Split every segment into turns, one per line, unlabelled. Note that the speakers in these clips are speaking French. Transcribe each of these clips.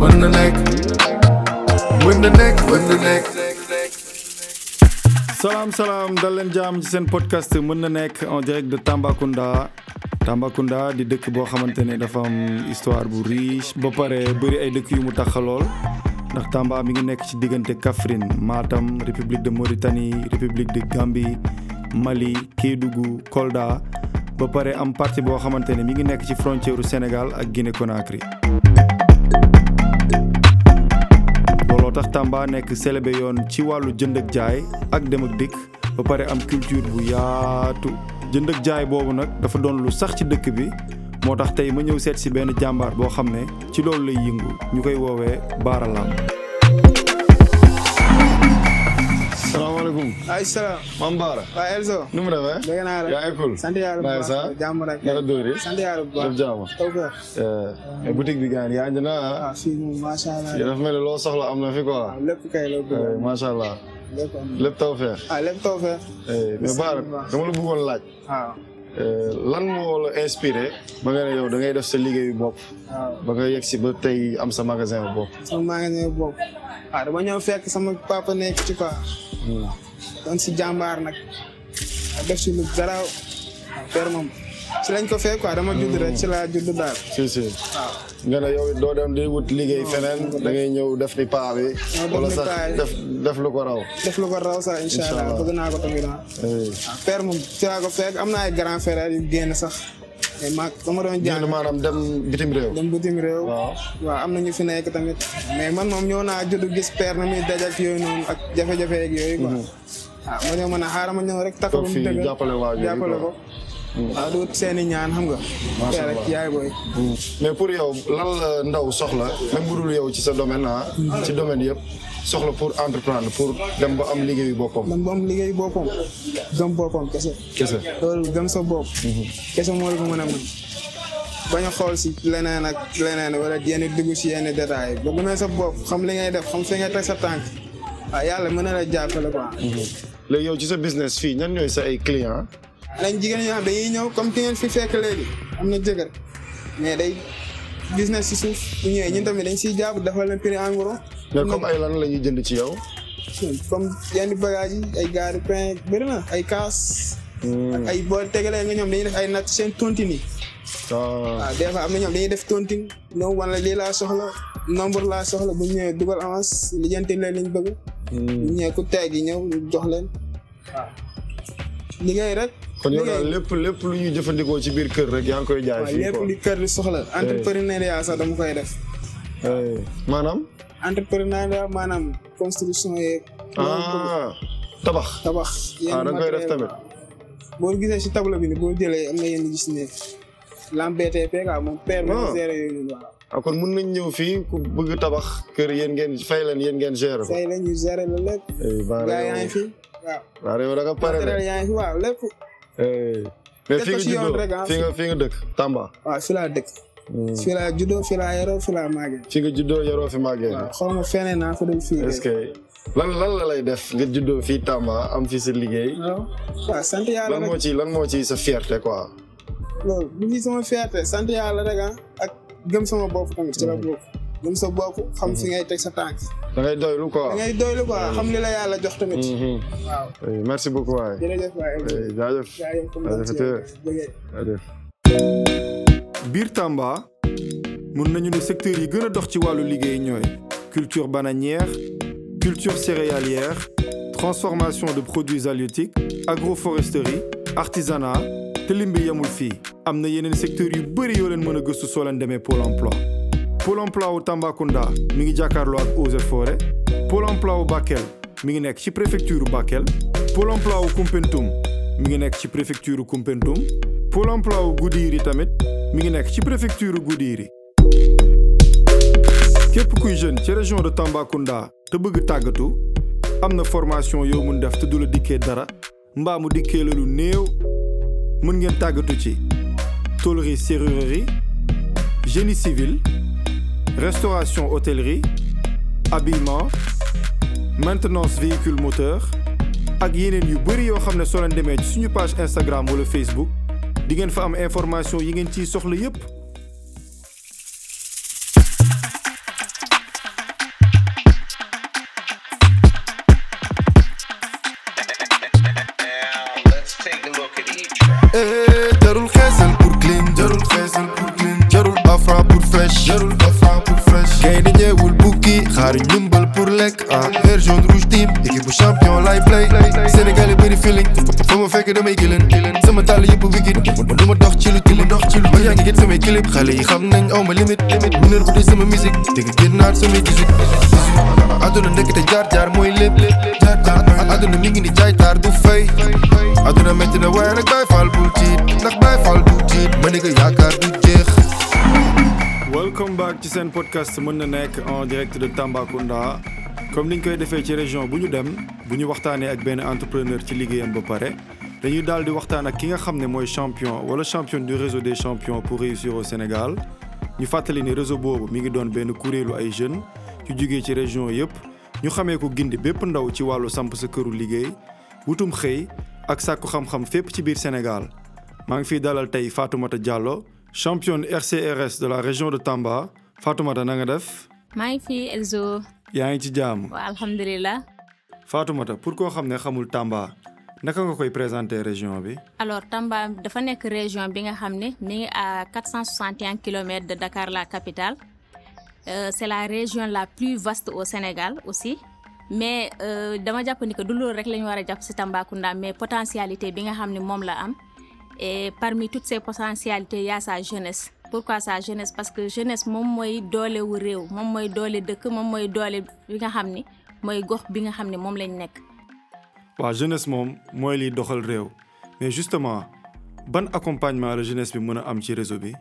mën na nekk mën na nekk mën na nekk.
salaam salaam dal leen jaam ci seen podcast mën na nekk en direct de Tambacounda Tambacounda di dëkk boo xamante ne dafa am histoire bu riche ba pare bëri ay dëkk yu mu taxalool ndax Tamba mi ngi nekk ci diggante Kaffrine Matam République de Mauritanie République de Gambie Mali Kédougou Kolda ba pare am parti boo xamante ne mi ngi nekk ci frontière u Sénégal ak Guinée Conakry looloo tax Tamba nekk célébé yoon ci wàllu jënd ak jaay ak dem ak dikk ba pare am culture bu yaatu jënd ak jaay boobu nag dafa doon lu sax ci dëkk bi moo tax tey ma ñëw seet si benn jàmbaar boo xam ne ci loolu lay yëngu ñu koy woowee Bara Lamb. salaamaaleykum
ay salaam
Mame Bara
waa Elzo
nu mu demee.
dégg naa la
yaa ngi cool.
sant yàlla bu
Naay
baax
saa.
jàmm rek
Yàlla dóor yi.
sant yàlla bu
def
baax
jàmm.
tawfeex
Eh, boutique bi gaañ yaa ngi na ah.
waaw fii moom macha allah
dafa mel ni loo soxla am na fi quoi.
waaw lépp kay la bëgg
Eh, macha allah
lépp am
lépp tawfeex.
ah lépp tawfeex
Eh, mais Bara dama la bëggoon laaj.
waaw
Eh, lan moo la inspiré ba nga ne yow da ngay def sa liggéeyu bopp
waaw
ba nga yegg si ba tey am sa magasin bu bopp.
ah. sama magasin boobu waaw dama ñëw fekk sama papa nekk ci quoi
Hmm.
doon si jàmbaar nag waaw def si Ah, lu garaaw waaw père moom si lañ ko fekk quoi dama judd rek si laa judd daal
si si
waaw
nga ne yow it doo dem di wut liggéey feneen da ngay ñëw def ni paa bi
Ah, def
wala
ni
sax
paa yi.
def def lu ko raw.
def lu ko raw sax incha allah
Inch'Allah.
bëgg naa ko tamit ah
Eh,
waaw père moom ci laa ko fekk am na ay grand frère yu génn sax mais maa dama doon jàng
génn maanaam dem bitim réew.
dem bitim réew
waaw.
waaw am na ñu fi nekk tamit mais man moom ñëw naa judd gis père na muy daj ak yooyu noonu ak jafe-jafe ak yooyu quoi waaw ma ñëw mën a xaaral ma ñëw rek
toog
taxawu mu
fii
dëgg
jàppale waa jooju
jàppale ko
quoi.
waaw du wut seen i ñaan xam nga père ak yaay booy
Hmm. mais pour yow lan la ndaw soxla même bu dul yow ci sa domaine ah. ci domaine yëpp soxla pour entreprendre pour dem ba am liggéeyu boppam
man moom liggéey boppam gëm boppam kese
kese.
loolu gëm sa bopp kese moo la ko mën a mën bañ a xool si leneen ak leneen wala yenn dugg si yenn détails ba gëmee sa bopp xam li ngay def xam fi ngay teg sa tànk waaw yàlla mën na la jàppale quoi
léegi yow ci sa business fii ñan ñooy sa ay clients.
lañ jigéen ñi xam dañuy ñëw comme ki ngeen fi fekk léegi am na jëkkër mais day business si suuf bu ñëwee ñun tamit dañ siy jàpp defal leen prix en gros
mais comme ay lan la ñuy jënd ci yow.
comme yenn bagages yi ay gaari pain bëri na ay kaas ak ay boo tegalee nga ñoom dañuy def ay natt seen tontine yi
ah
waaw des fois am na ñoom dañuy def tontine ñoom wan la lii laa soxla nombre laa soxla bu ñëwee dugal avance lijjanti leen liñ bëgg
Hmm.
bu ñëwee ku teg yi ñëw ñu jox leen waaw liggéey rek
kon yow daal
liggéey.
lépp lépp lu ñuy jëfandikoo ci biir kër rek yaa ngi koy jaay
waaw
fii
lépp
quoi.
li kër di soxla entrepreneuriat sax dama koy def
Eh, maanaam.
entrepreneuriat maanaam construction yeeg
ah tabax.
tabax yenn
ah da nga koy def
matériel.
tamit.
boo gisee si tableau bi ni boo jëlee am na yenn gis ne lam BTP quoi moom père mo
Ah.
géré yooyu noonu waaw
ah kon mun nañ ñëw fii ku bëgg tabax kër yéen ngeen fay leen yéen ngeen gérer ko.
say la ñu géré la lépp
eh baara
gars yaa ngi
yow
fi waaw
baara yow da nga pare de.
matériel yaa ngi fi waaw lépp
Eh, mais
Teg
fii
ko
nga
ci yoon
juddoo
rek, ah. Hmm.
fii nga fii nga dëkk Tamba.
waaw fi laa dëkk
Hmm.
fi laa juddoo fi laa yaroo fi laa màggee
fii nga juddoo yaroo fi màggee.
waaw xaw ma feneen naa fa dul fii de.
Hmm. est-ce que lan lan la lay def nga juddoo fii Tamba am fii sa liggéey.
waaw waaw sant yàlla
lan
rek
moo ci lan moo ci sa fierté quoi.
loolu bu ñu sama fierté sant yàlla rek ah ak gëm sama bopp tamit ci la
Hmm.
bokk gëm sa bopp xam fi ngay teg sa tànk
da ngay doylu
da
quoi.
ngay doylu quoi
Hmm.
xam li la yàlla jox tamit
Mhm.
waaw
Eh, merci beaucoup waay.
jërëjëf waay
Eh, jaajëf.
jaajëf comme
jaajëf
ci
te-
bëggee
jaajëf.
biir Tamba mun nañu ne secteurs yi gën a dox ci wàllu liggéey ñooy culture bananière culture céréalière transformation de produits halieutiques agroforesterie artisanat te lim bi yemul fii am na yeneen secteurs yu bëri yoo leen mën a gëstu soo leen demee pôle emploi pôle emploi wu Tambacounda mi ngi jàkkaarloo ak Eaux et Forêts pôle emploi wu Bakel mi ngi nekk ci préfecture Bakel pôle emploi wu Koumpentoum mi ngi nekk ci préfecture Koumpentoum pôle emploi wu Goudiri tamit mi ngi nekk ci préfecture Goudiri képp kuy jeune ci région de Tambacounda te bëgg tàggatu am na formation yoo mun def te du la dikkee dara mbaa mu dikkee la lu néew mën ngeen tàggatu ci tôlerie serrurerie génie civil restauration hôtellerie habillement maintenance véhicule moteur ak yeneen yu bëri yoo xam ne soo leen demee ci suñu page Instagram wala Facebook di ngeen fa am information yi ngeen ciy soxla yépp
xaari ñumbal pour lekk ah vert jaune rouge team équipe bu champion lay play Sénégal yi bëri feeling fa ma fekk damay gëlën sama tàll yëpp wicked man du ma dox ci lu tilim dox ci lu ma yaa ngi gën samay clip xale yi xam nañ aw ma limite mineur bu dee sama musique dégg génnaat samay 18 aduna nekk te jaar jaar mooy lépp jaar jaar aduna mi ngi ni jaay taar du fay aduna metti na waaye nag bay faal bu tiit ndax bay faal bu tiit ma ne ko yaakaar du jeex
welcome back ci seen podcast mën na nekk en direct de Tambacounda comme niñ koy defee ci région bu ñu dem bu ñu waxtaanee ak benn entrepreneur ci liggéeyam ba pare dañuy daal di waxtaan ak ki nga xam ne mooy champion wala champion du réseau des champions pour réussir au Sénégal ñu fàttali ni réseau boobu mi ngi doon benn kuréelu ay jeunes yu jugee ci région yépp ñu xamee ko gindi bépp ndaw ci wàllu samp sa këru liggéey wutum xëy ak sàkku xam-xam fépp ci biir Sénégal maa ngi fiy dalal tey Fatoumata Diallo championne RCRS de la région de Tamba Fatoumata na nga def.
maa ngi fi Elzo.
yaa ngi ci jàmm.
waaw alhamdulilah.
Fatoumata pour koo xam ne xamul Tamba naka nga koy présenter région bi.
alors Tamba dafa nekk région bi nga xam ne mi ngi à 461 kilomètres de Dakar la capitale Euh, c'est la région la plus vaste au Sénégal aussi mais euh, dama jàpp ni que du loolu rek la ñu war a jàpp si Tambacounda mais potentialité bi nga xam ne moom la am et parmi toutes ces potentialités y a sa jeunesse. pourquoi sa jeunesse parce que jeunesse moom mooy doole wu réew moom mooy doole dëkk moom mooy doole bi nga xam ni mooy gox bi nga xam ne moom lañ nekk.
waaw jeunesse moom mooy liy doxal réew mais justement ban accompagnement la jeunesse bi mën a am ci réseau bi.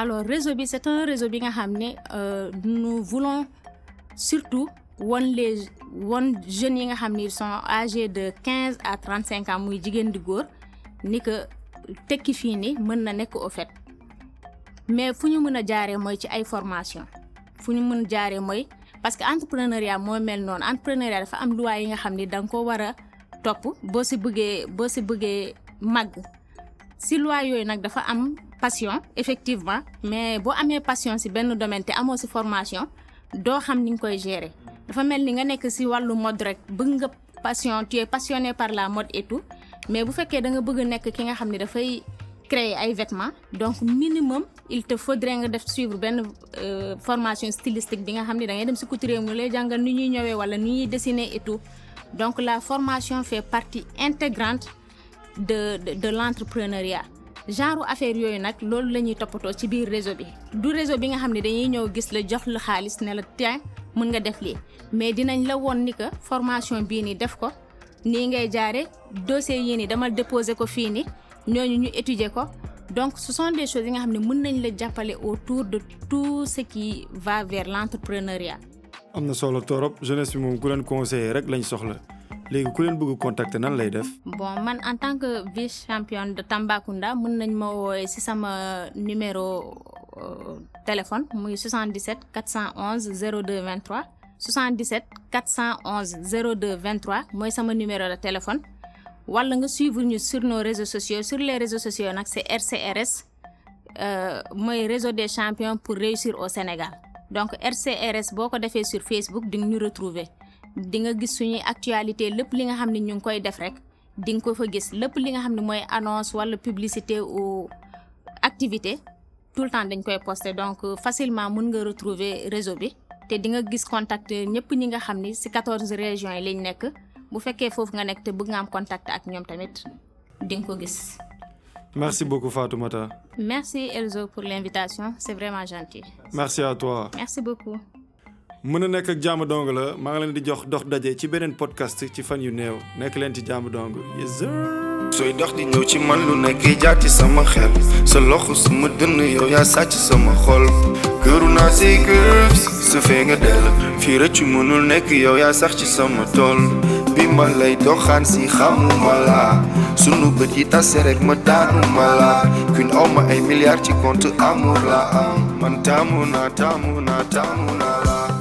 alors réseau bi c'est un réseau bi nga xam ne euh, nous voulons surtout won les won jeunes yi nga xam ne ils sont âgés de quinze à trente cinq ans muy jigéen di góor ni que tekki fii ni mën na nekk au fait mais fu ñu mën a jaaree mooy ci ay formation fu ñu mën jaaree mooy parce que entrepreneuriat moo mel noonu entrepreneuriat dafa am loi yi nga xam ne da nga ko war a topp boo si bëggee boo si bëggee màgg si loi yooyu nag dafa am passion effectivement mais boo amee passion si benn domaine te amoo si formation doo xam ni nga koy gérer dafa mel ni nga nekk si wàllu mode rek bëgg nga passion tu es passionné par la mode et tout mais bu fekkee da nga bëgg nekk ki nga xam ne dafay créer ay vêtements donc minimum il te faudrait nga def suivre benn euh, formation stylistique bi nga xam ne da ngay dem si couturier mu lay jàngal ni ñuy ñëwee wala ni ñuy dessiner et tout donc la formation fait partie intégrante de de, de l'entrepreneuriat genre affaire yooyu nag loolu la ñuy toppatoo ci biir réseau bi du réseau bi nga xam ne dañuy ñëw gis la jox la xaalis ne la tiens mën nga def lii mais dinañ la woon ni que formation bii nii def ko nii ngay jaare dossier yii nii dama déposer ko fii nii ñooñu ñu étudier ko donc ce sont des choses yi nga xam ne mën nañ la jàppale autour de tout ce qui va vers l'entrepreneuriat.
am na solo torop jeunesse bi moom ku leen conseiller rek lañ soxla léegi ku leen bëgg contacter nan lay def.
bon man en tant que vice championne de Tambacounda mën nañ ma wooye ci sama numéro euh, téléphone muy 77 411 02 23 77 411 02 23 mooy sama numéro de téléphone wala nga suivre ñu sur nos réseaux sociaux sur les réseaux sociaux nag c'est RCRS euh, mooy réseau des champions pour réussir au Sénégal donc RCRS boo ko defee sur Facebook di nga ñu retrouver di nga gis suñuy actualité lépp li nga xam ne ñu ngi koy def rek di nga ko fa gis lépp li nga xam ne mooy annonce wala publicité ou activité tout le temps dañ koy poster donc euh, facilement mën nga retrouver réseau bi te di nga gis contact ñëpp ñi nga xam ni ci quatorze régions yi lañ nekk bu fekkee foofu nga nekk te bëgg nga am contact ak ñoom tamit di nga ko gis.
merci beaucoup Fatoumata.
merci Elzo pour l'invitation c'est vraiment gentil.
merci à toi.
merci beaucoup.
mën na nekk ak jàmm dong la maa ngi leen di jox dox daje ci beneen podcast ci fan yu néew nekk leen ci jàmm dong yes sir.
sooy dox di ñëw ci man lu nekk jaar ci sama xel sa loxo sama dënn yow yaa sàcc sama xol këru naa say kër su fee nga dell fii rëccu mënul nekk yow yaa sax ci sama tool bi ma lay doxaan si xamuma la sunu bët yi tase rek ma daanuma la kun aw ma ay milliards ci compte amour la am man taamu naa taamu naa taamu naa la